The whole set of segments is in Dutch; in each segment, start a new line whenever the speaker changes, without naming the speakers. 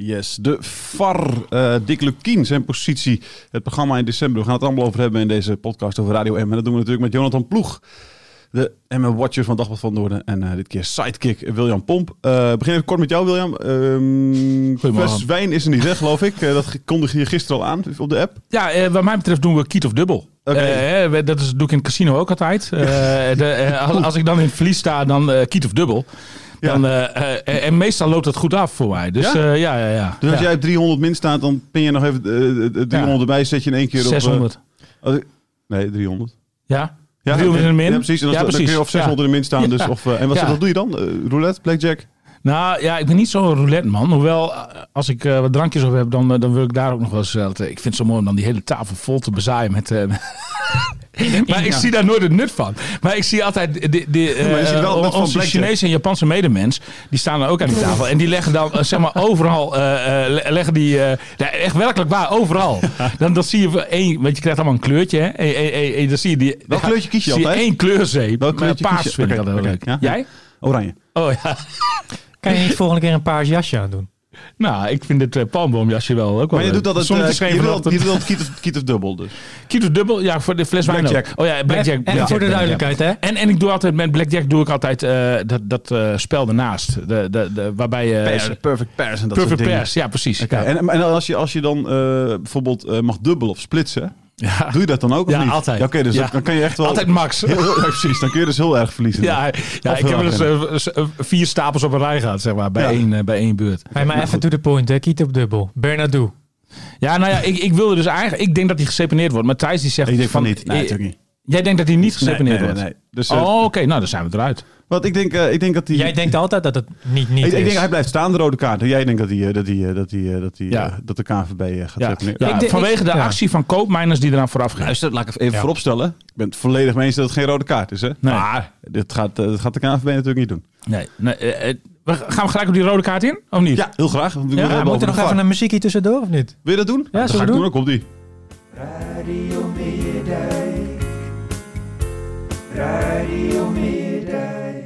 Yes, de VAR, eh Dick Lukien, zijn positie, het programma in december. We gaan het allemaal over hebben in deze podcast over Radio M. En dat doen we natuurlijk met Jonathan Ploeg, de Emmen Watcher van Dagblad van Noorden. En eh, dit keer sidekick eh, William Pomp. Eh begin even kort met jou, William. Ehm fles wijn is er niet, hè, geloof ik. Eh, dat kondigde je gisteren al aan op de app.
Ja, eh, wat mij betreft doen we kiet of dubbel.
Oké.
Eh, eh, we- dat is, doe ik in het casino ook altijd. Eh, de, eh, als, als ik dan in het verlies sta, dan eh, kiet of dubbel.
Ja.
Dan, eh, eh, en, en meestal loopt dat goed af voor mij. Dus
Ja?
ja, ja, ja. ja.
Dus als
Ja.
jij op 300 min staat, dan pin je nog even eh, eh, eh, 300 erbij. Zet je in één keer op... eh,
600.
als ik- nee, 300.
Ja?
Ja,
300 in de min?
Ja, precies. En dan, dan kun je of 600 in de min staan. Dus,
Ja.
of, eh, en wat,
Ja.
wat doe je dan? Eh, roulette, blackjack?
Nou ja, ik ben niet zo'n roulette man. Hoewel, eh, als ik eh, wat drankjes op heb, dan, eh, dan wil ik daar ook nog wel eens... eh, dat, eh, ik vind het zo mooi om dan die hele tafel vol te bezaaien met... eh, maar ik zie daar nooit het nut van. Maar ik zie altijd de, de, eh,
maar je ziet wel het nut
on-
van
onze
blackjack.
Chinese en Japanse medemens. Die staan dan ook aan die tafel. En die leggen dan eh, zeg maar overal... eh, eh, le- leggen die, eh, ja, echt werkelijk waar, overal. Dan, dan zie je... voor één, want je krijgt allemaal een kleurtje. Hè? En- en- en- en dan zie je die, dan ga-
kleurtje kies je
zie
altijd?
één kleurzeep.
Welk kleurtje
Eh,
kies
Paars
je?
vind ik
Oké,
altijd wel
oké,
leuk.
ja.
Jij?
Oranje.
Oh ja.
Kan je niet volgende keer een paars jasje aan doen?
Nou, ik vind het eh, palmboomjasje wel ook wel
Maar je
leuk.
doet dat het,
Zonnetje
eh,
scheen
je
vanaf
wilt,
dat-
je wilt kiet, of, kiet of dubbel dus.
Kilo dubbel, ja, voor de fles wijn ook.
Blackjack.
Oh ja, blackjack.
En- en
blackjack,
voor de
blackjack.
duidelijkheid, hè?
En, en ik doe altijd, met blackjack doe ik altijd eh, dat, dat eh, spel daarnaast. De, de, de, waarbij je...
perfect pairs en dat
perfect
soort
pairs, ja precies.
Oké,
Ja.
En, en als, je, als je dan eh, bijvoorbeeld eh, mag dubbel of splitsen,
Ja.
doe je dat dan ook
Ja,
of niet?
altijd.
Oké, dus
Ja.
dan, dan kan je echt wel...
Altijd max.
Heel, ja, precies, dan kun je dus heel erg verliezen.
Ja, ja ik heb wel eens eh, v- vier stapels op een rij gehad, zeg maar, bij,
Ja.
één, eh, bij één beurt.
Hey, maar even to the point, hè. Kiet op dubbel. Bernardo.
Ja, nou ja, ik, ik wilde dus eigenlijk... Ik denk dat hij geseponeerd wordt, maar Thijs die zegt...
Ik denk van niet. Nee,
eh,
natuurlijk niet.
Jij denkt dat hij niet
Nee, nee,
geseponeerd
nee,
wordt?
nee. Dus, eh,
Oh, oké, nou dan zijn we eruit.
Want ik denk, eh, ik denk dat die...
Jij denkt altijd dat het niet niet
ik, ik
is.
denk hij blijft staan, de rode kaart. En jij denkt dat, die, eh, dat, die, eh, dat, die, eh, dat, die, eh,
Ja.
dat de KNVB eh, gaat
Ja,
seponeren.
ja,
Ik denk-
vanwege
ik-
de
ja.
actie van koopmijners die eraan vooraf ging.
Luister, laat ik even vooropstellen. Ik ben het volledig mee eens dat het geen rode kaart is. Hè?
Nee.
Maar dit gaat, eh, dat gaat de KNVB natuurlijk niet doen.
Nee, nee eh, eh, we gaan we gelijk op die rode kaart in? Of niet?
Ja, heel graag. want we
Ja,
willen het over
moet
Moet er
de
nog
VAR.
even een muziekje tussendoor, of niet?
Wil je dat doen?
zullen
dat ga
we
ik
doen?
doen. ook op die.
Radio Meerdijk. Radio Meerdijk.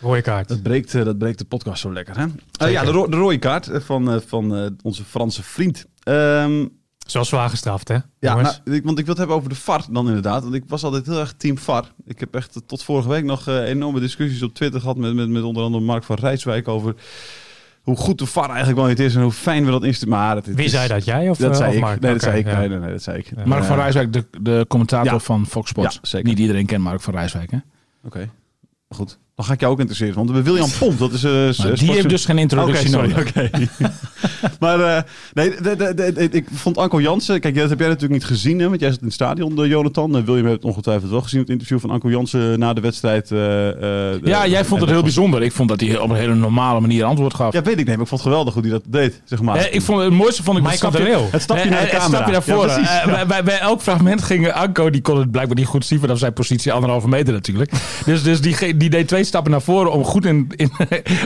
Rode kaart.
Dat breekt, eh, dat breekt de podcast zo lekker, hè? Eh, ja, de, ro- de rode kaart eh, van, eh, van eh, onze Franse vriend. Ehm,
Zoals zwaar gestraft, hè?
ja,
jongens?
nou, ik, want ik wil het hebben over de VAR dan inderdaad. Want ik was altijd heel erg team VAR. Ik heb echt eh, tot vorige week nog eh, enorme discussies op Twitter gehad... Met, met, met onder andere Mark van Rijswijk over... hoe goed de VAR eigenlijk wel niet is en hoe fijn we dat instellen. Maar het, het
Wie
is-
zei dat? Jij of,
Dat
eh,
zei
of
ik. Nee,
Mark?
dat
Oké,
zei ik.
ja.
Nee, nee, nee, dat zei ik.
Mark van
Eh,
Rijswijk, de, de commentator
Ja.
van Fox Sports.
Ja, zeker.
Niet iedereen kent Mark van Rijswijk, hè?
Oké. Goed. Dan ga ik jou ook interesseren. Want we William Pomp, dat is... eh, s-
Maar die
sportjour-
heeft dus geen introductie
Oké,
nodig.
sorry, oké. maar eh, nee, de- de- de- de- ik vond Anko Jansen... Kijk, dat heb jij natuurlijk niet gezien, hè, want jij zat in het stadion, eh, Jonathan. Eh, William heeft het ongetwijfeld wel gezien, het interview van Anko Jansen na de wedstrijd. eh, eh,
Ja,
eh,
jij
en
vond het heel bijzonder. Ik vond dat hij op een hele normale manier antwoord gaf.
Ja, weet ik niet, maar ik vond het geweldig hoe hij dat deed, zeg maar.
Eh, ik vond, het mooiste vond ik
Michael Terreel.
Het stapje
Eh,
naar de
eh, het
camera.
stapje naar
Ja,
voren.
precies,
Eh, bij, bij, bij elk fragment ging eh, Anko, die kon het blijkbaar niet goed zien vanaf zijn positie, anderhalve meter natuurlijk. dus dus die, ge- die deed twee stappen naar voren om goed in, in,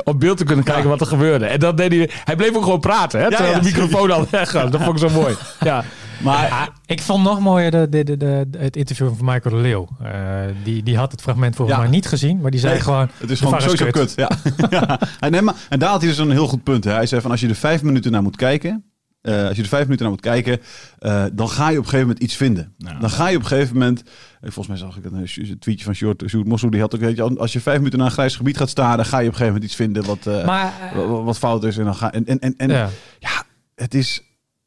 op beeld te kunnen kijken wat er gebeurde. En dat deed hij. Hij bleef ook gewoon praten, hè, terwijl
ja.
de microfoon al weg was. Dat vond ik zo mooi. Ja.
Maar
Ah, Ik vond nog mooier de, de, de, de- het interview van Michael de Leeuw. Eh, die, die had het fragment volgens
Ja.
mij niet gezien, maar die zei
Nee,
gewoon...
Het
de
is gewoon
VAR
sowieso kut. Ja. ja. En, nee, maar- en daar had hij dus een heel goed punt. Hè. Hij zei van als je er vijf minuten naar moet kijken, eh, als je er vijf minuten naar moet kijken, eh, dan ga je op een gegeven moment iets vinden.
Ja.
Dan ga je op een gegeven moment, eh, volgens mij zag ik een eh, tweetje van Short, Sjoerd Mossel, die had ook, weet je, als je vijf minuten naar een grijs gebied gaat staren, ga je op een gegeven moment iets vinden wat, eh,
Maar,
wa- wa- wat fout is. En, dan ga, en, en, en, en
ja.
het is,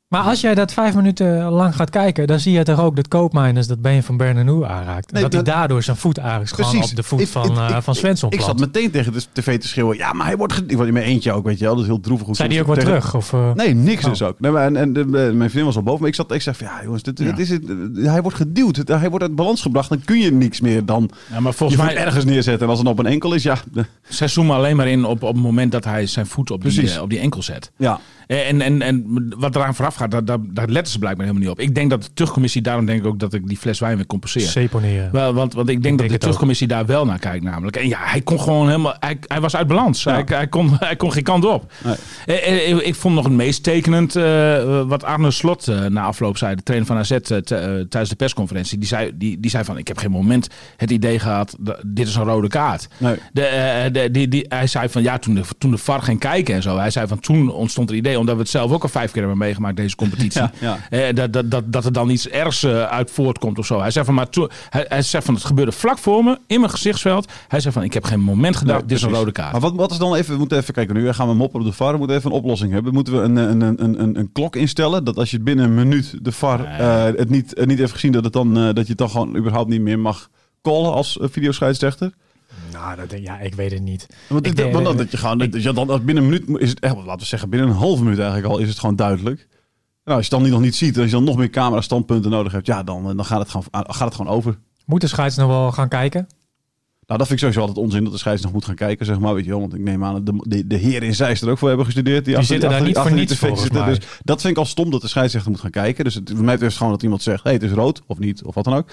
maar als jij dat vijf minuten lang gaat kijken, dan zie je toch ook dat Koopmijners dat been van Bernanou aanraakt.
Nee,
dat, hij
dat-
daardoor zijn voet aanraakt gewoon
Precies.
op de voet
Ik-
van,
ik-
eh,
ik-
van Svensson
ik zat
plant.
meteen tegen de tv te schreeuwen, ja, maar hij wordt, ge- ik word in mijn eentje ook, weet je wel, dat is heel droevig. hoe
Zei die ook
soms
wat
tegen-
terug? Of, eh,
Nee, niks
Oh.
dus ook. Nee, maar en, en, eh, mijn vriendin was al boven, maar ik zat, ik zeg van, ja jongens, dit,
Ja.
dit is het, eh, hij wordt geduwd, Het- hij wordt uit balans gebracht, dan kun je niks meer dan
Ja, maar volgens
je
mij
voet ergens neerzetten. En als het dan op een enkel is, ja. de-
Zij zoomen alleen maar in op, op het moment dat hij zijn voet op, die,
Precies.
eh, op die enkel zet. Eh,
ja.
En, en, en wat eraan vooraf gaat, daar, daar, daar letten ze blijkbaar helemaal niet op. Ik denk dat de terugcommissie, daarom denk ik ook dat ik die fles wijn weer compenseer.
Seponeren.
Wel, want, want ik denk dat
denk
de
het
terugcommissie daar wel naar kijkt namelijk. En ja, hij kon gewoon helemaal... Hij, hij was uit balans. Hij, hij, kon, hij kon geen kant op.
Nee.
Eh, eh, ik, ik vond nog het meest tekenend eh, wat Arne Slot eh, na afloop zei. De trainer van AZ eh, t- eh, tijdens de persconferentie. Die zei, die, die zei van, ik heb geen moment het idee gehad... dat dit is een rode kaart.
Nee.
De, eh, de, die, die, hij zei van ja, toen de, toen de VAR ging kijken en zo. Hij zei van toen ontstond het idee, omdat we het zelf ook al vijf keer hebben meegemaakt, deze competitie.
Ja, ja.
Eh, dat, dat, dat, dat er dan iets ergs eh, uit voortkomt of zo. Hij zei van maar toen, hij, hij zei van het gebeurde vlak voor me, in mijn gezichtsveld. Hij zei van ik heb geen moment gedacht, dit is een
precies.
rode kaart.
Maar wat, wat is dan even, we moeten even kijken, nu gaan we moppen op de VAR, we moeten even een oplossing hebben. Moeten we een, eh, een, een, een, een, een klok instellen, dat als je binnen een minuut de VAR eh, het niet, het niet heeft gezien, dat, het dan, eh, dat je het dan gewoon überhaupt niet meer mag callen als eh, videoscheidsrechter?
Nou, dat, ja, ik weet het niet.
Want,
Ik
ik
denk-
want dat, dat je gewoon, dat je dan als binnen een minuut mo- is het echt, laten we zeggen, binnen een half minuut eigenlijk al is het gewoon duidelijk. Nou, als je het dan nog niet ziet, als je dan nog meer camera-standpunten nodig hebt, ja, dan, eh, dan gaat, het gewoon, ah, gaat het gewoon over.
Moet de scheids nog wel gaan kijken?
Nou, dat vind ik sowieso altijd onzin dat de scheids nog moet gaan kijken, zeg maar. Weet je wel, want ik neem aan dat de, de, de heren in Zeist er ook voor hebben gestudeerd. Die,
zitten daar niet voor niets,
tv
volgens mij.
Dus dat vind ik al stom dat de scheidsrechter moet gaan kijken. Dus het, voor mij is het gewoon dat iemand zegt, hey, het is rood of niet, of wat dan ook.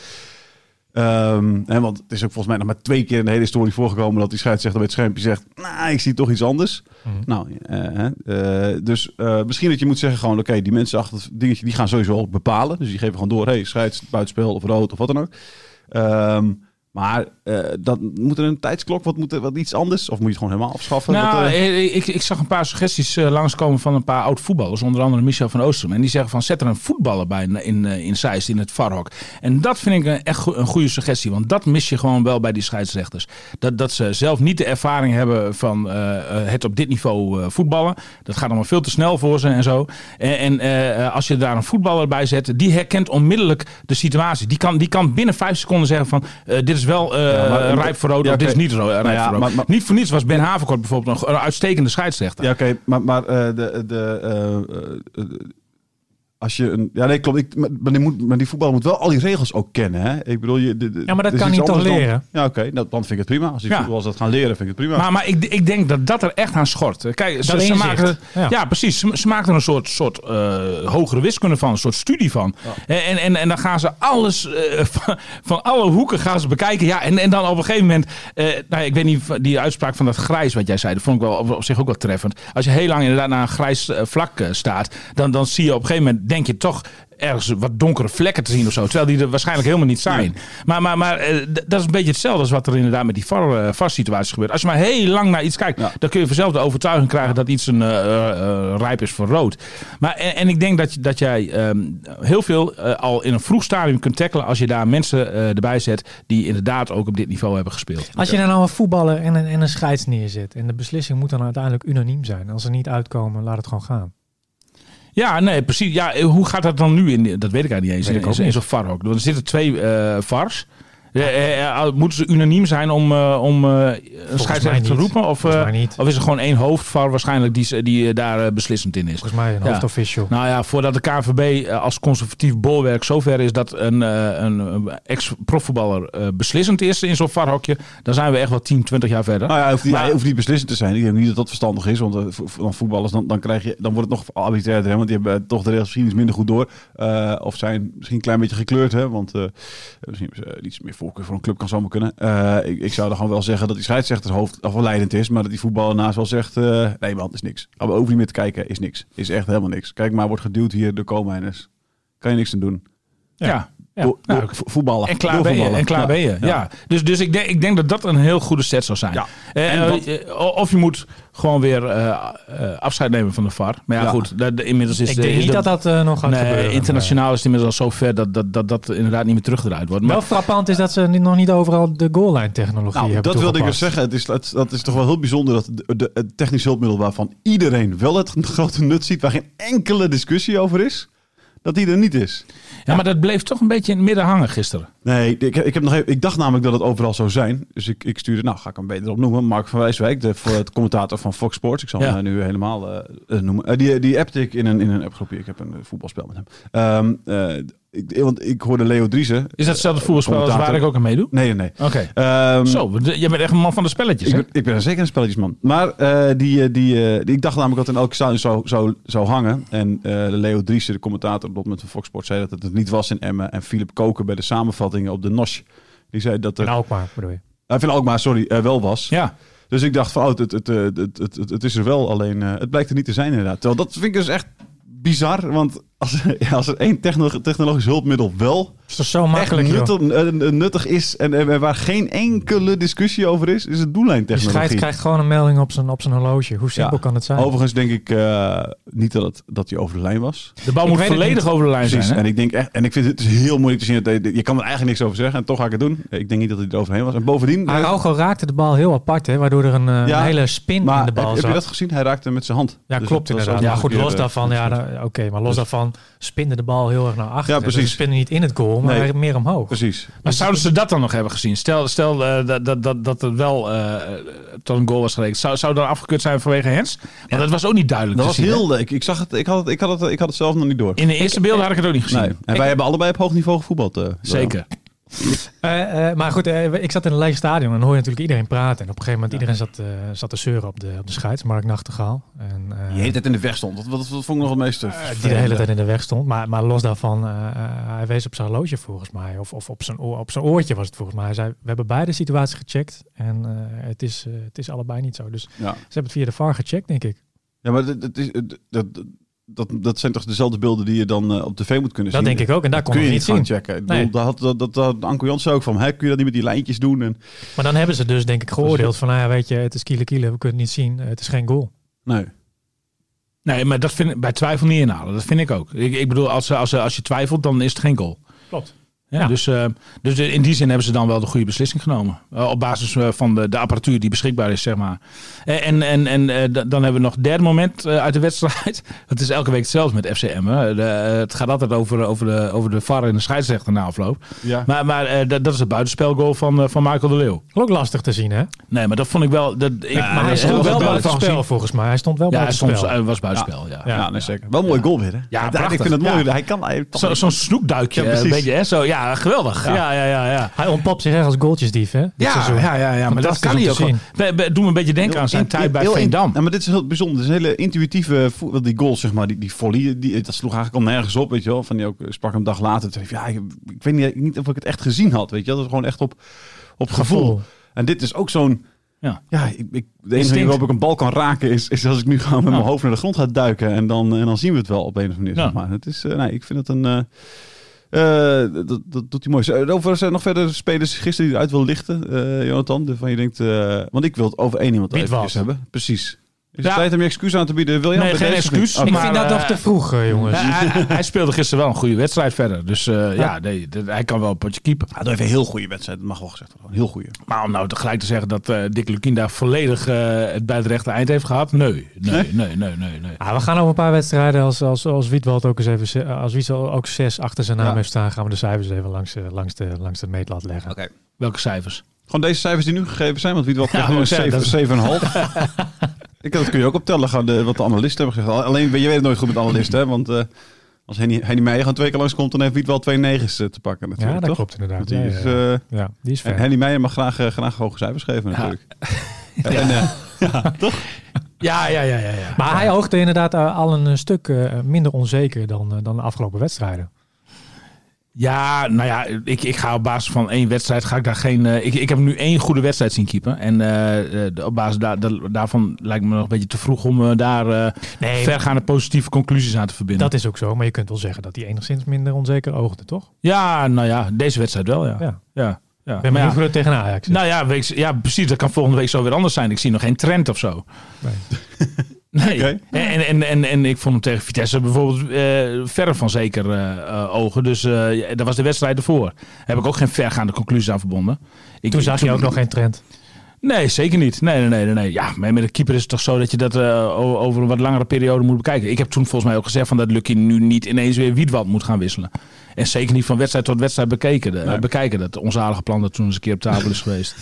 Ehm, hè, want het is ook volgens mij nog maar twee keer in de hele historie voorgekomen dat die scheidsrechter bij het schermpje zegt, nou, ik zie toch iets anders.
Mhm.
Nou, eh, hè, eh, dus eh, misschien dat je moet zeggen gewoon, oké, die mensen achter het dingetje, die gaan sowieso ook bepalen. Dus die geven gewoon door, hey, scheids, buitenspel of rood of wat dan ook. Ehm, maar eh, dat, moet er een tijdsklok, wat, moet er, wat iets anders? Of moet je het gewoon helemaal afschaffen?
Nou,
Wat, eh,
eh, ik, ik zag een paar suggesties eh, langskomen van een paar oud-voetballers. Onder andere Michel van Oostrum. En die zeggen van zet er een voetballer bij in, in, eh, in Zeist, in het Varhok. En dat vind ik een, echt go- een goede suggestie. Want dat mis je gewoon wel bij die scheidsrechters. Dat, dat ze zelf niet de ervaring hebben van eh, eh, het op dit niveau eh, voetballen. Dat gaat allemaal veel te snel voor ze en zo. En, en eh, eh, als je daar een voetballer bij zet, die herkent onmiddellijk de situatie. Die kan, die kan binnen vijf seconden zeggen van eh, dit is wel eh
Ja, maar-
rijp voor rood
Ja,
of dit is
oké.
niet ro- rijp
Nou ja,
voor rood.
maar- maar-
Niet voor niets was Ben Haverkort bijvoorbeeld een, een uitstekende scheidsrechter.
ja, oké, maar, maar eh, de... de eh, eh, eh, als je een, ja, nee, klopt. Ik, maar, maar die moet, maar die voetballer moet wel al die regels ook kennen. Hè? Ik bedoel, je, de- de-
Ja, maar dat
is
kan
iets
hij toch
anders dan-
leren?
ja, oké. nou, dan vind ik het prima. Als die
Ja.
voetballers dat gaan leren, vind ik het prima.
Maar, maar ik, ik denk dat dat er echt aan schort. Kijk, ze,
Dat
ze
inzicht.
maken, er- ja.
Ja.
precies. Ze, ze maken er een soort, soort eh, hogere wiskunde van, een soort studie van. En, en, en dan gaan ze alles eh, van, van alle hoeken gaan ze bekijken. Ja, en, en dan op een gegeven moment, eh, nou, ik weet niet, die uitspraak van dat grijs wat jij zei, dat vond ik wel op, op zich ook wel treffend. Als je heel lang inderdaad naar een grijs eh, vlak eh, staat, dan, dan zie je op een gegeven moment, denk je toch ergens wat donkere vlekken te zien of zo. Terwijl die er waarschijnlijk helemaal niet zijn. Maar, maar, maar eh, d- dat is een beetje hetzelfde als wat er inderdaad met die VAR, eh, VAR-situatie gebeurt. Als je maar heel lang naar iets kijkt,
Ja.
dan kun je vanzelf de overtuiging krijgen dat iets een eh, eh, eh, rijp is voor rood. Maar, en, en ik denk dat, je- dat jij ehm, heel veel eh, al in een vroeg stadium kunt tackelen als je daar mensen eh, erbij zet die inderdaad ook op dit niveau hebben gespeeld.
Als je daar nou een voetballer en een, en een scheids neerzet. En de beslissing moet dan uiteindelijk unaniem zijn. Als ze niet uitkomen, laat het gewoon gaan.
Ja, nee, precies. Ja, eh, hoe gaat dat dan nu in? Dat weet ik eigenlijk niet eens.
Weet ik
in
ook
in- in
niet.
zo'n VAR ook. Want Er zitten twee eh, VARs. Eh, eh, eh, moeten ze unaniem zijn om, eh, om eh, een scheidsrechter te
niet.
roepen? Of,
Volgens
eh,
mij niet.
of is er gewoon één hoofdvar waarschijnlijk die, ze- die eh, daar eh, beslissend in is?
Volgens mij een
Ja.
hoofdofficial.
Nou ja, voordat de KNVB eh, als conservatief bolwerk zover is dat een, eh, een, eh, ex-profvoetballer eh, beslissend is in zo'n varhokje, dan zijn we echt wel 10, 20 jaar
Ah,
verder.
Nou ja, hoeft niet,
Maar-
hij hoeft niet beslissend te zijn. Ik denk niet dat dat verstandig is. Want eh, vo- vo- dan voetballers, dan, dan, krijg je, dan wordt het nog arbitrairder. Hè, want die hebben eh, toch de regels misschien iets minder goed door. Eh, of zijn misschien een klein beetje gekleurd. Hè, want eh misschien hebben ze, eh, iets meer voorkeur voor een club kan zomaar kunnen. Eh, ik, ik zou dan gewoon wel zeggen dat die scheidsrechter hoofd afleidend is. Maar dat die voetballer naast wel zegt... eh, nee man, is niks. Maar we hoeven niet meer te kijken. Is niks. Is echt helemaal niks. Kijk maar, wordt geduwd hier door Koolmijners. Kan je niks aan doen.
ja. ja. Ja.
Door-
Nou,
door vo- voetballen.
En klaar
Door
ben je.
voetballen.
En klaar
Ja.
ben je. Ja. Dus, dus ik, denk, ik denk dat dat een heel goede set zou zijn.
Ja.
Eh,
En
eh,
wat-
eh, of je moet gewoon weer eh, eh, afscheid nemen van de VAR. Maar ja,
Ja.
goed. Dat, inmiddels
dus
is
Ik denk
is
niet dat dat eh, nog gaat
nee,
gebeuren.
internationaal is het inmiddels al zo ver dat dat, dat dat inderdaad niet meer teruggedraaid wordt.
Maar-
Maar
eh, Wel frappant is dat ze niet- nog niet overal de goal-line technologie
Nou,
hebben
dat wilde ik dus
toegepast.
zeggen. Het is, het, dat is toch wel heel bijzonder dat de, de- het technisch hulpmiddel waarvan iedereen wel het grote nut ziet, waar geen enkele discussie over is, dat die er niet is.
Ja, maar dat bleef toch een beetje in het midden hangen gisteren.
Nee, ik, ik, heb nog even, ik dacht namelijk dat het overal zou zijn. Dus ik, ik stuurde, nou ga ik hem beter opnoemen, Mark van Wijswijk, de voor het commentator van Fox Sports. Ik zal
Ja.
hem eh, nu helemaal eh, eh, noemen. Eh, die, die appte ik in een, in een appgroepje. Ik heb een eh, voetbalspel met hem. Ehm, eh, ik, want ik hoorde Leo Driessen.
Is dat hetzelfde voetbalspel als waar
commentator.
ik ook aan meedoe?
Nee, nee, nee.
Oké.
Ehm,
Zo, de- je bent echt een man van de spelletjes.
Ik
hè?
ben, ik ben zeker een spelletjesman. Maar eh, die, eh, die, eh, die, ik dacht namelijk dat in elke stadion zou, zou, zou hangen. En eh, Leo Driessen, de commentator op dat moment van Fox Sports, zei dat het het niet was in Emmen. En Philip Koken bij de samenvattingen op de NOS. Die zei dat er...
Nou, ook maar, bedoel je.
Hij vindt ook maar, sorry, eh, wel was.
Ja.
Dus ik dacht van, oh, het, het, het, eh, het, het, het, het is er wel, alleen eh, het blijkt er niet te zijn inderdaad. Terwijl dat vind ik dus echt bizar, want als, ja, als er één techno- technologisch hulpmiddel wel
Het is toch zo makkelijk,
echt
joh.
nuttig, eh, nuttig is en, en waar geen enkele discussie over is, is het
De scheids
doellijntechnologie.
krijgt gewoon een melding op zijn, op zijn horloge. Hoe simpel
Ja.
kan het zijn?
Overigens denk ik eh, niet dat, het, dat hij over de lijn was.
De bal
Ik
moet
weet het
volledig over de lijn
Precies.
zijn. Hè?
en ik denk echt, en ik vind het heel moeilijk te zien. Dat, hij- je kan er eigenlijk niks over zeggen en toch ga ik het doen. Ik denk niet dat hij er overheen was. En bovendien.
Araujo raakte de bal heel apart, hè, waardoor er een, eh,
Ja,
een hele spin
maar
in de
heb,
bal
heb je
zat.
dat gezien? Hij raakte hem met zijn hand.
Ja,
Dus
klopt
dat was
inderdaad.
ook
Ja,
nog
goed,
een keer,
los
eh,
daarvan, ja,
goed.
dan- oké, maar los
Dus-
daarvan spinde de bal heel erg naar achter.
Ja,
Dus
precies.
ze spinde niet in het goal, maar
Nee. Dus-
meer omhoog.
Precies.
Maar zouden ze dat dan nog hebben gezien? Stel, stel eh, dat, dat, dat, dat het wel eh, tot een goal was gerekend. Zou, zou dat afgekeurd zijn vanwege Hens? Want dat was ook niet duidelijk.
Dat
te
was
zien, hè?
heel leuk. Ik zag het. Ik had het. Ik had het. Ik had het zelf nog niet door.
In de eerste beelden had ik het ook niet gezien.
Nee. En wij hebben allebei op hoog niveau gevoetbald. eh,
Zeker.
Eh, eh, maar goed, eh, ik zat in een leeg stadion en hoor je natuurlijk iedereen praten. En op een gegeven moment, iedereen zat, eh, zat te zeuren op de, op de scheids, Mark Nachtegaal. En, eh,
wel. Die heet het in de weg stond. Dat, dat, dat vond ik nog het meeste.
Eh, die de hele tijd in de weg stond. Maar, maar los daarvan, eh, eh, hij wees op zijn horloge volgens mij. Of, of op, zijn oor, op zijn oortje was het volgens mij. Hij zei, we hebben beide situaties gecheckt. En eh, het, is, eh, het is allebei niet zo. Dus ze
Ja.
hebben het via de VAR gecheckt, denk ik.
Ja, maar dat, dat, is- dat, dat, dat zijn toch dezelfde beelden die je dan eh, op tv moet kunnen
Dat
zien?
denk ik ook. En daar kon
kun
je
je
het
niet gaan
niet zien.
checken. Ik
Nee.
bedoel, daar had, dat, dat, dat Anko Jans zei ook van, hè, kun je dat niet met die lijntjes doen? En,
Maar dan hebben ze dus, denk ik, geoordeeld van... Nou ja, weet je, het is kiele kiele, we kunnen het niet zien. Eh, Het is geen goal.
nee.
Nee, maar dat vind ik bij twijfel niet inhalen. Dat vind ik ook. Ik, ik bedoel, als, als, als je twijfelt, dan is het geen goal.
Klopt.
Ja,
Ja.
Dus, eh, dus de- in die zin hebben ze dan wel de goede beslissing genomen. Eh, op basis eh, van de, de apparatuur die beschikbaar is, zeg maar. Eh, En, en, en eh, da- dan hebben we nog het derde moment eh, uit de wedstrijd. Het is elke week hetzelfde met FCM. Hè. De, eh, het gaat altijd over, over, de, over de VAR en de scheidsrechter na afloop.
Ja.
Maar, maar eh, dat, dat is het buitenspelgoal van, eh, van Michael de Leeuw.
Ook lastig te zien, hè?
Nee, maar dat vond ik wel... Dat, ik,
maar hij
dat
stond
was buitenspel
wel buiten
gezien.
spel, volgens mij. Hij stond wel
Ja, hij
buiten
stond,
spel.
hij was buitenspel, ja.
Ja, nee, zeker. Wel een mooi goal weer, hè?
Ja,
ik
prachtig.
vind het mooi.
Ja.
Hij kan... Hij,
Zo- Zo'n snoekduikje,
Ja,
ja,
precies.
beetje, hè? Zo, ja, geweldig. Ja, ja, ja, ja. ja.
Hij ontpopt zich echt als goaltjesdief, hè? dit seizoen.
ja, ja, maar dat dus
Fantastisch
kan
om
hij
te
ook. wel.
zien.
Be- be- Doe me een beetje denken aan zijn
heel-
tijd bij
heel-
Veendam.
Ja, maar dit is heel bijzonder. Het is een hele intuïtieve voet- wel die goal, zeg maar. Die, die volley, die, dat sloeg eigenlijk al nergens op, weet je wel. Van die ook eh, sprak hem een dag later. Toen dacht ik, ja, ik, ik weet niet, niet of ik het echt gezien had, weet je wel. Dat is gewoon echt op, op gevoel.
Gevoel.
En dit is ook zo'n...
Ja.
Ja, ik, ik, de enige manier waarop ik een bal kan raken is, is als ik nu gewoon met mijn hoofd naar de grond ga duiken. En dan, en dan zien we het wel op een of andere manier.
Ja.
Zeg maar. het is, eh, nee, ik vind het een... eh, eh, dat, dat doet hij mooi. Eh, Overigens zijn er nog verder spelers gisteren die eruit wil lichten, eh, Jonathan. Waarvan je denkt, eh, want ik wil het over één iemand
Witwas.
eventjes hebben. Precies. Is
Ja.
het tijd om je excuus aan te bieden? Wil je
Nee, geen excuus,
Oh,
Ik
maar-
vind dat
eh,
nog te vroeg, eh, jongens.
Ja, hij, hij- hij speelde gisteren wel een goede wedstrijd verder. Dus eh, ja, nee, dat- hij kan wel een potje keeper.
even een heel goede wedstrijd. Ah, Dat mag wel gezegd worden. Een heel goede.
Maar om nou tegelijk te zeggen dat eh Dick Lukien daar volledig eh, het bij het rechte eind heeft gehad. Nee, nee, nee, nee, nee. nee.
Ah, we gaan over een paar wedstrijden, als, als, als Wietwald ook eens even, ze- als Wietwald ook zes achter zijn naam
Ja.
heeft staan, gaan we de cijfers even langs, eh, langs, de, langs de meetlat leggen.
Welke cijfers?
Gewoon deze cijfers die nu gegeven zijn. Want wie het wel
Ja,
krijgt,
ik
nu
wou
een zeven- 7,5. ik, dat kun je ook optellen, gewoon de, wat de analisten hebben gezegd. Alleen, je weet het nooit goed met analisten. Hè, want eh, als Henny, Henny Meijer gewoon twee keer langskomt, dan heeft Wiet wel twee negens eh, te pakken
Ja,
natuurlijk,
dat
toch?
klopt inderdaad.
Want
Ja,
die
ja,
is,
ja.
eh,
Ja, die is
en
ver.
Henny Meijer mag graag, eh, graag hoge cijfers geven natuurlijk. En, eh,
Ja, ja, ja, ja. ja.
Maar hij oogde inderdaad eh, al een eh, stuk eh, minder onzeker dan, eh, dan de afgelopen wedstrijden.
Ja, nou ja, ik, ik ga op basis van één wedstrijd ga ik daar geen. eh, ik, ik heb nu één goede wedstrijd zien keeper. En eh, eh, op basis daar daar- daarvan lijkt me nog een beetje te vroeg om eh, daar eh,
Nee,
vergaande positieve conclusies aan te verbinden.
dat is ook zo. Maar je kunt wel zeggen dat hij enigszins minder onzeker oogde, toch?
Ja, nou ja, deze wedstrijd wel, ja.
Ja.
ja. ja.
We hebben
Maar ja,
nu voor het tegen Ajax. is.
nou ja, week, ja, precies. Dat kan volgende week zo weer anders zijn. Ik zie nog geen trend of zo.
Nee.
Nee.
Oké.
En, en, en, en ik vond hem tegen Vitesse bijvoorbeeld eh verre van zeker eh, eh, ogen. Dus eh, ja, dat was de wedstrijd ervoor. Daar heb ik ook geen vergaande conclusies aan verbonden. Ik,
Toen zag je ook nog geen trend.
Nee, zeker niet. Nee, nee, nee, nee, nee. Ja, maar met een keeper is het toch zo dat je dat eh, o- over een wat langere periode moet bekijken. Ik heb toen volgens mij ook gezegd van dat Lucky nu niet ineens weer Wiedwald moet gaan wisselen. En zeker niet van wedstrijd tot wedstrijd bekeken, eh,
Nee.
bekijken. Dat onzalige plan dat toen eens een keer op tafel is geweest.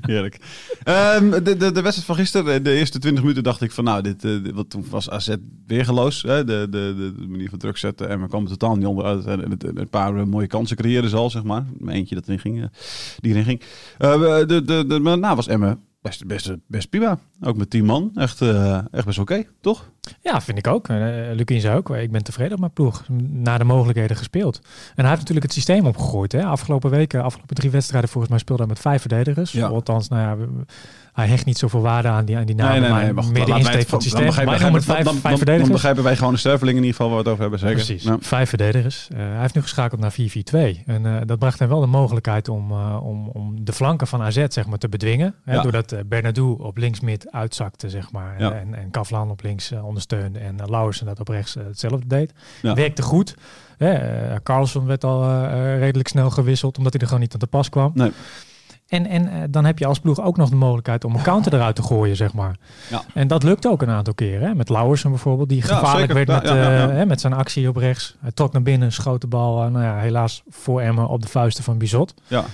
Heerlijk. Ehm, de, de, de wedstrijd van gisteren, de eerste 20 minuten dacht ik van nou, dit, eh, dit- want toen was AZ weergeloos. Hè? De, de, de, de manier van druk zetten en we kwamen totaal niet onderuit. En het- en een paar eh, mooie kansen creëerden ze al, zeg maar. Eentje dat erin ging, eh, die erin ging. Eh, we- de, de, de, maar daarna was Emmen best, best, best prima. Ook met 10 man. Echt, eh, echt best oké,
Nou,
toch?
Ja, vind ik ook. Eh, Lukien zei ook, ik ben tevreden op mijn ploeg. Naar de mogelijkheden gespeeld. En hij heeft natuurlijk het systeem opgegooid. Hè? Afgelopen weken, afgelopen drie wedstrijden volgens mij speelde hij met vijf verdedigers.
Ja.
Althans, nou ja, we- we- hij hecht niet zoveel waarde aan die, aan die namen, maar
wacht,
meer
laten
de
wij
insteek van het
dan
systeem.
begrijpen-
Maar hij noemt
dan-
vijf,
dan-
vijf
dan, dan
verdedigers.
begrijpen wij gewoon de stervelingen in ieder geval waar we het over hebben, zeker.
Precies,
Ja.
vijf verdedigers. Eh, hij heeft nu geschakeld naar 4-4-2. En eh, dat bracht hem wel de mogelijkheid om, eh, om, om de flanken van AZ zeg maar, te bedwingen. Hè,
Ja.
Doordat eh, Bernardo op linksmid uitzakte zeg maar,
Ja.
en, en Kavlan op links eh, ondersteunde. En eh, Lauwersen dat op rechts eh, hetzelfde deed.
Ja.
Werkte goed. Hè, eh, Carlson werd al eh, eh, redelijk snel gewisseld, omdat hij er gewoon niet aan te pas kwam.
Nee.
En, en eh, dan heb je als ploeg ook nog de mogelijkheid om een counter eruit te gooien, zeg maar.
Ja.
En dat lukt ook een aantal keren. Hè? Met Lauwersen bijvoorbeeld, die
Ja,
gevaarlijk
zeker.
werd
Ja,
met,
ja, ja, ja.
eh, hè, met zijn actie op rechts. Hij trok naar binnen, schoot de bal, eh, nou ja, helaas voor Emmen op de vuisten van Bizot.
Ja.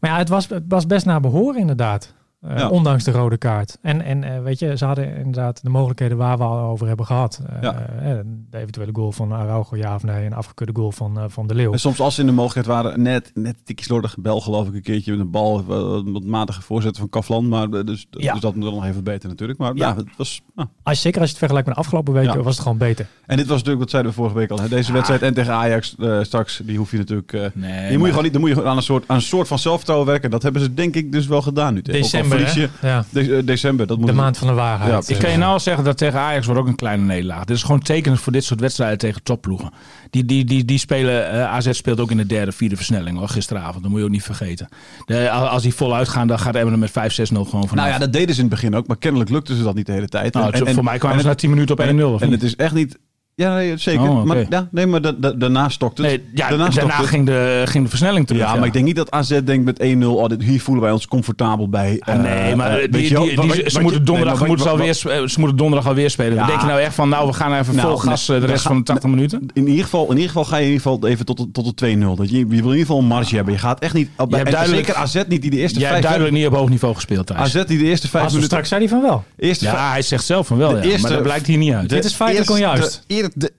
Maar ja, het was, het was best naar behoren inderdaad. Eh,
Ja.
Ondanks de rode kaart. En, en eh, weet je, ze hadden inderdaad de mogelijkheden waar we al over hebben gehad. Eh,
Ja.
eh, de eventuele goal van Araujo, ja of nee. En de afgekeurde goal van, eh, van De Leeuw.
En soms als ze in de mogelijkheid waren, net, net een tikje slordig. Bel geloof ik een keertje met een bal, eh, wat matige voorzet van Kaflan. Maar eh, dus,
Ja.
dus dat moet wel nog even beter natuurlijk. Maar ja,
Ja.
het was... ah.
Als, zeker als je het vergelijkt met de afgelopen weken,
Ja.
was het gewoon beter.
En dit was natuurlijk, wat zeiden we vorige week al. Hè? Deze wedstrijd en tegen Ajax eh, straks, die hoef je natuurlijk... eh,
Ah. Nee,
die moet
maar-
je gewoon niet, dan moet je gewoon aan een, soort, aan een soort van zelfvertrouwen werken. Dat hebben ze denk ik dus wel gedaan nu. tegen- ook al
December,
verlies je-
hè?
Ja.
de- eh, december, dat moet
De maand van de
Ja,
waarheid. eh.
precies.
Ik kan je nou al zeggen dat tegen Ajax wordt ook een kleine nederlaag. Dit is gewoon tekenend voor dit soort wedstrijden tegen topploegen. Die, die, die, die spelen, eh, AZ speelt ook in de derde, vierde versnelling hoor, gisteravond. Dat moet je ook niet vergeten. De, als die voluit gaan, dan gaat Emmen er met 5-6-0 gewoon vanaf.
Nou ja, dat deden ze in het begin ook. Maar kennelijk lukte ze dat niet de hele tijd.
Nou,
En-
het-
en-
voor mij kwamen
en-
ze na 10 minuten op 1-0.
En,
of
en
niet?
het is echt niet... Ja, nee, zeker.
Oh, oké.
maar, ja, nee, maar da- da- daarna stokt het.
nee, ja,
daarna
daarna
stokt het.
ging, de, ging de versnelling terug.
Ja, maar ik denk niet dat AZ denkt met 1-0, oh, dit- hier voelen wij ons comfortabel bij.
Ah, nee,
Eh,
maar
eh,
die,
weet
die,
je wel,
die-
wat-
die-
wat-
ze,
wat-
moeten
nee,
donderdag,
maar
moeten ze
wat-
alweer,
wat-
sp- eh, ze moeten donderdag alweer spelen.
Ja.
Denk je nou echt van, nou, we gaan even
Nou,
vol gas eh, de
dan
rest
ga-
van de 80 minuten?
In ieder, geval, in ieder geval ga je in ieder geval even tot, de- tot de 2-0. Dat je, je wil in ieder geval een marge hebben. Je gaat echt niet... oh, en
Ah. duidelijk-
zeker AZ niet die de eerste
Jij hebt
vijf... Ah,
duidelijk niet op hoog niveau gespeeld, Thijs.
AZ die de eerste vijf
Als we
minuten...
straks zei hij van wel.
eerste vijf-
ja, hij zegt zelf van wel,
De
ja,
eerste-
maar dat blijkt hier niet uit.
de
Dit is feitelijk
eerste-
onjuist.
De, eer- de,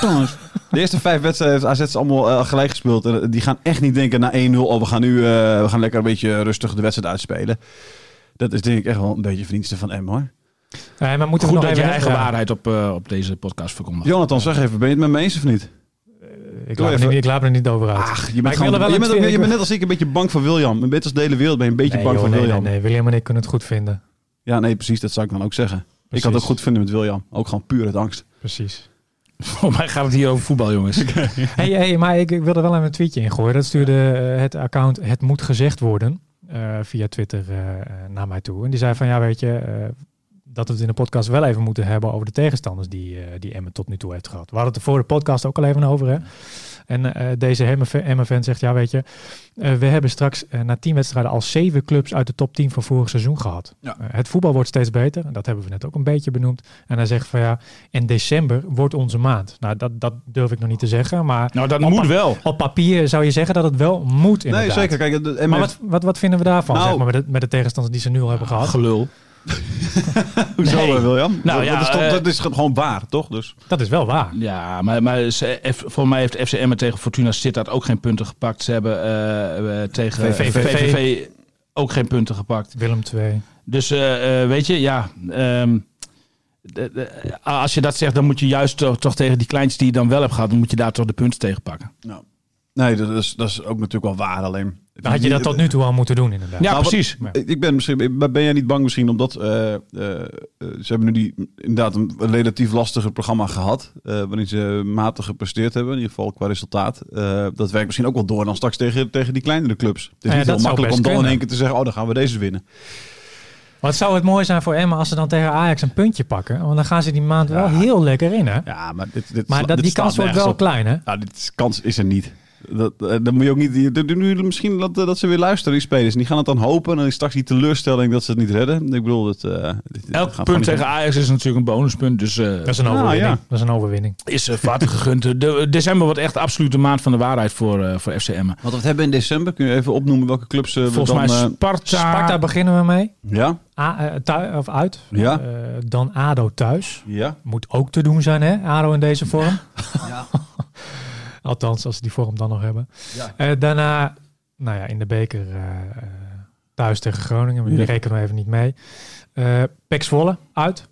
Jongens, de eerste vijf wedstrijden heeft AZ ze allemaal eh, gelijk gespeeld. En, eh, die gaan echt niet denken na 1-0, oh, we gaan nu eh, we gaan lekker een beetje rustig de wedstrijd uitspelen. Dat is denk ik echt wel een beetje verdienste van M, hoor.
Nee, maar moeten we
Goed
nog
dat je
even
eigen
ja.
waarheid op, eh, op deze podcast verkondigt.
Jonathan, zeg even, ben je het met me eens of niet?
Ik
Doe
laat, me
even.
niet, ik laat me er niet over uit.
Ach, je
Maar
bent,
ik
gewoon,
wil er wel
je,
een
bent,
tweede
je
keer-
bent net als ik een beetje bang voor William. Net als de hele wereld ben je een beetje
nee,
bang
joh,
voor
nee,
William.
Nee, nee, William en ik kunnen het goed vinden.
Ja, nee, precies. Dat zou ik dan ook zeggen. Ik had het ook goed vinden met William. Ook gewoon puur uit angst.
Precies.
Volgens mij gaat het hier over voetbal, jongens.
hey, hey, maar ik, ik wil er wel even een tweetje in gooien. Dat stuurde eh, het account Het Moet Gezegd Worden eh, via Twitter eh, eh, naar mij toe. En die zei van, ja weet je, eh, dat we het in de podcast wel even moeten hebben over de tegenstanders die, eh, die Emmen tot nu toe heeft gehad. We hadden het er voor de podcast ook al even over, hè. En eh, deze Emmen- Emmen-fan zegt, ja weet je, eh, we hebben straks eh, na tien wedstrijden al zeven clubs uit de top 10 van vorig seizoen gehad.
Ja.
Eh, het voetbal wordt steeds beter, en dat hebben we net ook een beetje benoemd. En hij zegt van ja, en december wordt onze maand. Nou, dat, dat durf ik nog niet te zeggen, maar
Nou, dat
Op-
moet wel.
op papier zou je zeggen dat het wel moet inderdaad.
Nee, zeker. Kijk, de,
Maar wat, wat, wat vinden we daarvan,
Nou.
zeg maar, met, de, met de tegenstanders die ze nu al hebben gehad?
Gelul.
hoezo
Nee.
eh, William?
Nou
dat,
ja,
dat is toch-
eh,
dat is gewoon waar, toch? Dus.
Dat is wel waar.
Ja, maar, maar ze- F- volgens mij heeft FC Emmen tegen Fortuna Sittard ook geen punten gepakt. Ze hebben eh, eh, tegen
VVV.
VVV ook geen punten gepakt.
Willem 2.
Dus eh, eh, weet je, ja. ehm, de- de- als je dat zegt, dan moet je juist toch, toch tegen die kleintjes die je dan wel hebt gehad, dan moet je daar toch de punten tegen pakken.
Nee, dat is, dat is ook natuurlijk wel waar. Alleen.
Dan had je dat tot nu toe al moeten doen, inderdaad.
Ja,
Nou, wat-
precies.
Ik ik ben, misschien, ben jij niet bang misschien omdat eh, eh, eh, ze hebben nu die, inderdaad een relatief lastiger programma gehad. eh, waarin ze matig gepresteerd hebben, in ieder geval qua resultaat. Eh, dat werkt misschien ook wel door dan straks tegen, tegen die kleinere clubs. Het is
ja,
niet
dat
heel
zou
makkelijk om
best
dan in één
kunnen.
keer te zeggen, oh dan gaan we deze winnen.
Wat zou het mooi zijn voor Emma als ze dan tegen Ajax een puntje pakken? Want dan gaan ze die maand wel heel lekker in, hè?
Ja, maar dit, dit,
maar
sla-
dat,
dit
die
staat
kans wordt
nergens
wel
op.
klein, hè?
Ja, Nou, dit is- kans is er niet. Dat, eh, dan moet je ook niet. je- doe- doe Nu, misschien dat, eh, dat ze weer luisteren, die spelers. En die gaan het dan hopen. En dan is straks die teleurstelling dat ze het niet redden. Ik bedoel, dat. eh dit- dit gaat
Elk
gewoon
punt
niet
tegen Ajax is natuurlijk een bonuspunt, dus eh,
Dat is een
Ah,
overwinning.
ja.
Dat is een overwinning.
is eh, vaart gegund. De- De, december wordt echt absoluut de maand van de waarheid voor, eh voor FC Emmen.
Want wat hebben we in december? Kun je even opnoemen welke clubs eh, we
Volgens
dan...
mij
eh,
Sparta.
Sparta beginnen we mee.
ja,
A, eh, thui- of uit.
Ja.
Eh, dan ADO thuis.
ja.
Moet ook te doen zijn, hè? ADO in deze vorm. Althans, als ze die vorm dan nog hebben. Eh, daarna, nou ja, in de beker eh, eh, thuis tegen Groningen. Maar die
Ja.
rekenen we even niet mee. Eh Pek Zwolle uit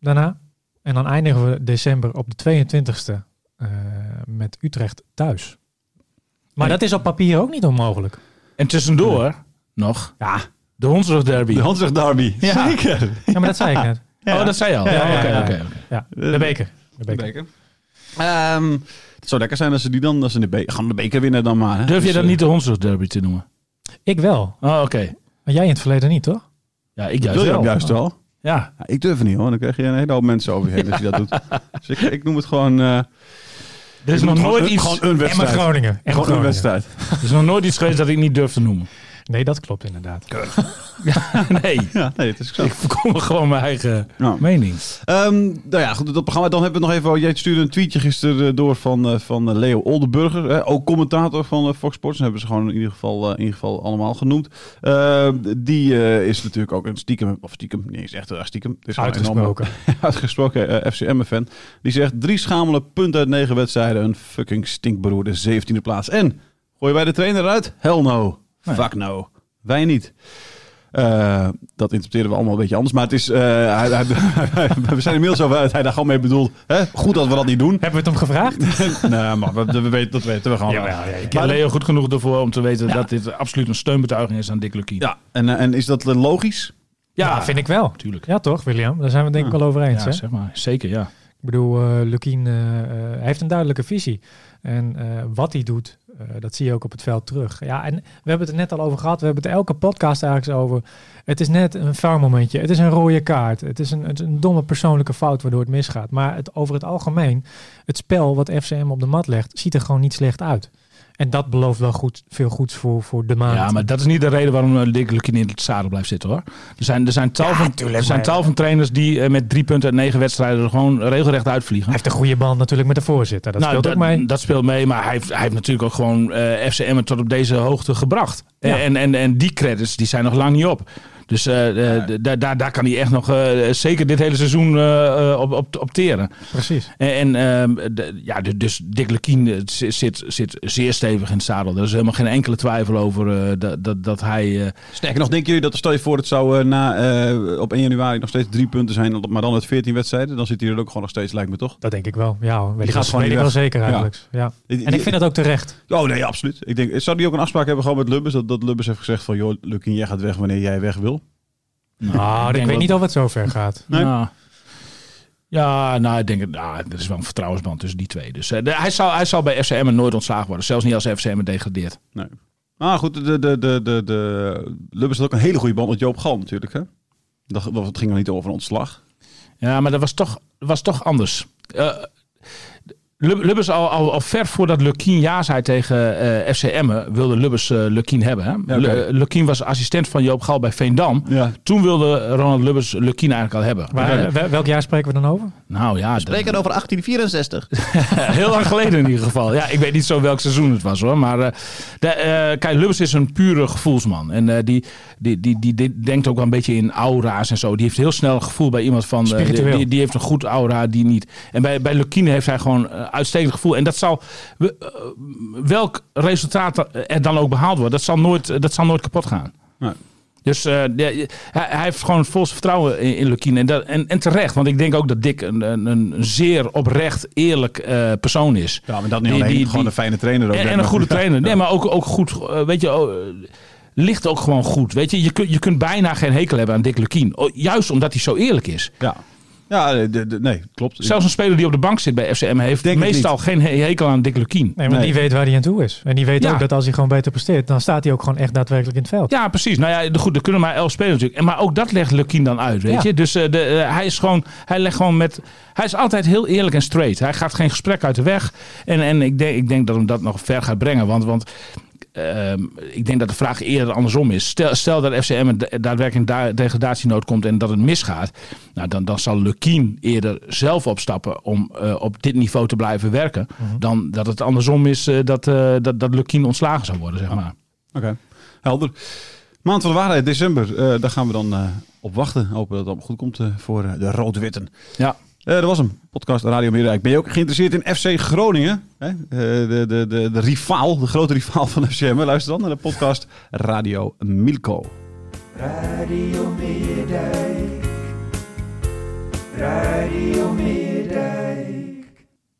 daarna. En dan eindigen we december op de 22e eh, met Utrecht thuis. Maar
Nee.
dat is op papier ook niet onmogelijk.
En tussendoor nog
Ja.
de Hondsrug Derby.
De Hansdag Derby.
Ja.
Zeker.
Ja, maar dat zei ik net.
Oh, dat zei je al.
Ja, ja, ja,
oké,
ja.
oké, oké.
Ja, de beker. De beker.
Ehm, het zou lekker zijn als ze die dan... Als ze de be- gaan de beker winnen dan maar. hè.
Durf je
Dus,
dat
eh,
niet de Hondsrug Derby te noemen?
Ik wel.
Oh, oké.
Maar jij in het verleden niet, toch?
Ja, ik
dat
juist
wil je
wel.
ook juist wel.
Ja.
Ja, ik durf het niet hoor. Dan krijg je een hele hoop mensen over je heen als je dat doet. Dus ik, ik noem het gewoon... eh,
Er is
ik noem
nog
het gewoon
nooit
een-
iets...
Gewoon een
Emma
wedstrijd.
Groningen. Emma
Gewoon een
Groningen.
wedstrijd.
Er is nog nooit iets geweest dat ik niet durf te noemen.
Nee, dat klopt inderdaad.
Nee,
Ja, nee, het is zo.
ik verkondig gewoon mijn eigen
Ja.
mening.
Ehm, nou ja, goed, dat programma. Dan hebben we nog even. Jij stuurde een tweetje gisteren eh, door van, eh, van eh, Leo Oldenburger. hè, ook commentator van eh, Fox Sports. Dat hebben ze gewoon in ieder geval, eh, in ieder geval allemaal genoemd. Eh, die eh, is natuurlijk ook een stiekem. Of stiekem, niet eens echt heel erg stiekem. Het is gewoon een enorme-
Uitgesproken.
uitgesproken eh, FCM-fan. Die zegt: drie schamele punten uit negen wedstrijden. Een fucking stinkberoerde 17e plaats. En gooien wij de trainer eruit? Hell no.
Nee.
Fuck no. Wij niet. Eh, dat interpreteren we allemaal een beetje anders. Maar het is, eh, hij- hij- we zijn inmiddels over dat hij daar gewoon mee bedoelt. Hè? Goed dat we dat niet doen.
Hebben we het hem gevraagd?
nee, maar we, we weten, dat weten we gewoon. wel.
Ik ken Leo goed genoeg ervoor om te weten dat dit absoluut een steunbetuiging is aan Dick Lukien.
Ja, en, eh, en is dat logisch?
Ja, vind ik wel.
natuurlijk.
Ja, toch, William? Daar zijn we het denk ik wel over
Ja,
eens. hè?
zeg maar. Zeker, ja.
Ik bedoel, eh Lukien eh, eh, hij heeft een duidelijke visie. En eh, wat hij doet, eh, dat zie je ook op het veld terug. Ja, en we hebben het er net al over gehad. We hebben het elke podcast eigenlijk over. Het is net een momentje. Het is een rode kaart. Het is een, het is een domme persoonlijke fout waardoor het misgaat. Maar het, over het algemeen, het spel wat FCM op de mat legt, ziet er gewoon niet slecht uit. En dat belooft wel goed, veel goeds voor, voor de maand.
Ja, maar dat is niet de reden waarom eh, Dick Lukien in het zadel blijft zitten hoor. Er zijn, er zijn tal van,
tuurlijk,
er zijn
maar-
tal van trainers die eh, met drie punten uit negen wedstrijden er gewoon regelrecht uitvliegen.
Hij heeft een goede band natuurlijk met de voorzitter. Dat speelt ook mee.
Nou, dat speelt mee, maar hij heeft, hij heeft natuurlijk ook gewoon eh FCM tot op deze hoogte gebracht. En, en, en, en die credits die zijn nog lang niet op. Dus eh, eh, d- daar, daar, daar kan hij echt nog eh, zeker dit hele seizoen eh, eh, op, op, op teren.
Precies.
En, en ehm, d- ja, d- dus Dick Lukien eh, zi- zit, zit zeer stevig in het zadel. Er is helemaal geen enkele twijfel over eh, dat, dat, dat hij... eh,
Sterker nog, denken jullie dat, stel je voor, het zou eh, na, eh, op 1 januari nog steeds drie punten zijn, maar dan uit 14 wedstrijden, dan zit hij er ook gewoon nog steeds, lijkt me toch?
Dat denk ik wel. Ja, hoor. weet,
gaat
ik, wel-
gewoon
weet
niet
ik
weg.
wel zeker
Ja.
eigenlijk. Ja. En ik vind dat ook terecht.
Oh nee, absoluut. Ik denk, zou die ook een afspraak hebben gewoon met Lubbers? Dat, dat Lubbers heeft gezegd van, joh, Lukin, jij gaat weg wanneer jij weg wil.
Nou, ik,
denk
weet
wel-
niet of het zo ver gaat.
Nee.
Nou, ja, nou, ik denk, het- nou, er is wel een vertrouwensband tussen die twee. Dus eh, de- hij, zal, hij zal bij FCM nooit ontslagen worden. Zelfs niet als FCM degradeert.
Maar goed, de, de, de, de, de, Lubbers had ook een hele goede band met Joop Gal natuurlijk, hè? Dat, dat het ging er niet over een ontslag.
Ja, maar dat was toch, was toch anders. Eh, Lub- Lubbers, al, al, al ver voordat Lukien ja zei tegen eh FCM, wilde Lubbers eh Lukien hebben. Hè?
oké.
Lu- eh, Lukien was assistent van Joop Gal bij Veendam.
Ja.
Toen wilde Ronald Lubbers Lukien eigenlijk al hebben.
Maar, eh, wel- welk jaar spreken we dan over?
Nou ja, dat-
Spreken over 1864.
Heel lang geleden in ieder geval. Ja, ik weet niet zo welk seizoen het was hoor. Maar eh de, eh, Kai Lubbers is een pure gevoelsman. En eh, die, die, die, die, die denkt ook wel een beetje in aura's en zo. Die heeft heel snel een gevoel bij iemand van... eh,
Spiritueel.
die, die heeft een goed aura, die niet. En bij, bij Lukine heeft hij gewoon eh, uitstekend gevoel. En dat zal... we- eh, eh, welk resultaat er dan ook behaald wordt, dat zal nooit, dat zal nooit kapot gaan.
Nee.
Dus eh, de- hij, hij heeft gewoon het volste vertrouwen in, in Lukien. En, dat, en, en terecht, want ik denk ook dat Dick een, een, een zeer oprecht, eerlijk eh, persoon is.
Ja, maar dat niet
Die-
alleen.
die-
gewoon
die-
een fijne trainer. Ook
En,
denk
en
ik.
een goede trainer. Nee, maar ook, ook goed. eh, Weet je, oh, eh, ligt ook gewoon goed. Weet je, je, kunt je kunt bijna geen hekel hebben aan Dick Lukien. Oh, Juist omdat hij zo eerlijk is.
Ja, ja de- de- nee, klopt. Ik-
Zelfs een speler die op de bank zit bij FCM heeft
Denk het
meestal
niet.
geen he- hekel aan Dick Lukien.
Nee, want
Nee.
die weet waar hij aan toe is. En die weet
Ja.
ook dat als hij gewoon beter presteert, dan staat hij ook gewoon echt daadwerkelijk in het veld.
Ja, precies. Nou ja, de- goed, er kunnen maar elf spelen natuurlijk. En, maar ook dat legt Lukien dan uit, weet
Ja.
je. Dus eh, de, eh, hij is gewoon, hij legt gewoon met, hij is altijd heel eerlijk en straight. Hij gaat geen gesprek uit de weg. En, en ik, denk, ik denk dat hem dat nog ver gaat brengen, want... want ehm, ik denk dat de vraag eerder andersom is. Stel, stel dat FCM een da- daadwerkelijk in da- degradatienood komt en dat het misgaat. Nou, dan, dan zal Lukien eerder zelf opstappen om eh, op dit niveau te blijven werken. Dan dat het andersom is eh, dat, eh dat, dat Lukien ontslagen zou worden, zeg maar.
Oké, helder. Maand van de waarheid, december. Eh, daar gaan we dan eh, op wachten. Hopen dat het allemaal goed komt eh, voor eh, de rood-witten.
Ja.
Eh, dat was hem. Podcast Radio Meerdijk. Ben je ook geïnteresseerd in FC Groningen? Hè? Eh, de, de, de, de rivaal, de grote rivaal van FCM. Luister dan naar de podcast Radio Milko.
Radio Meerdijk. Radio Meerdijk.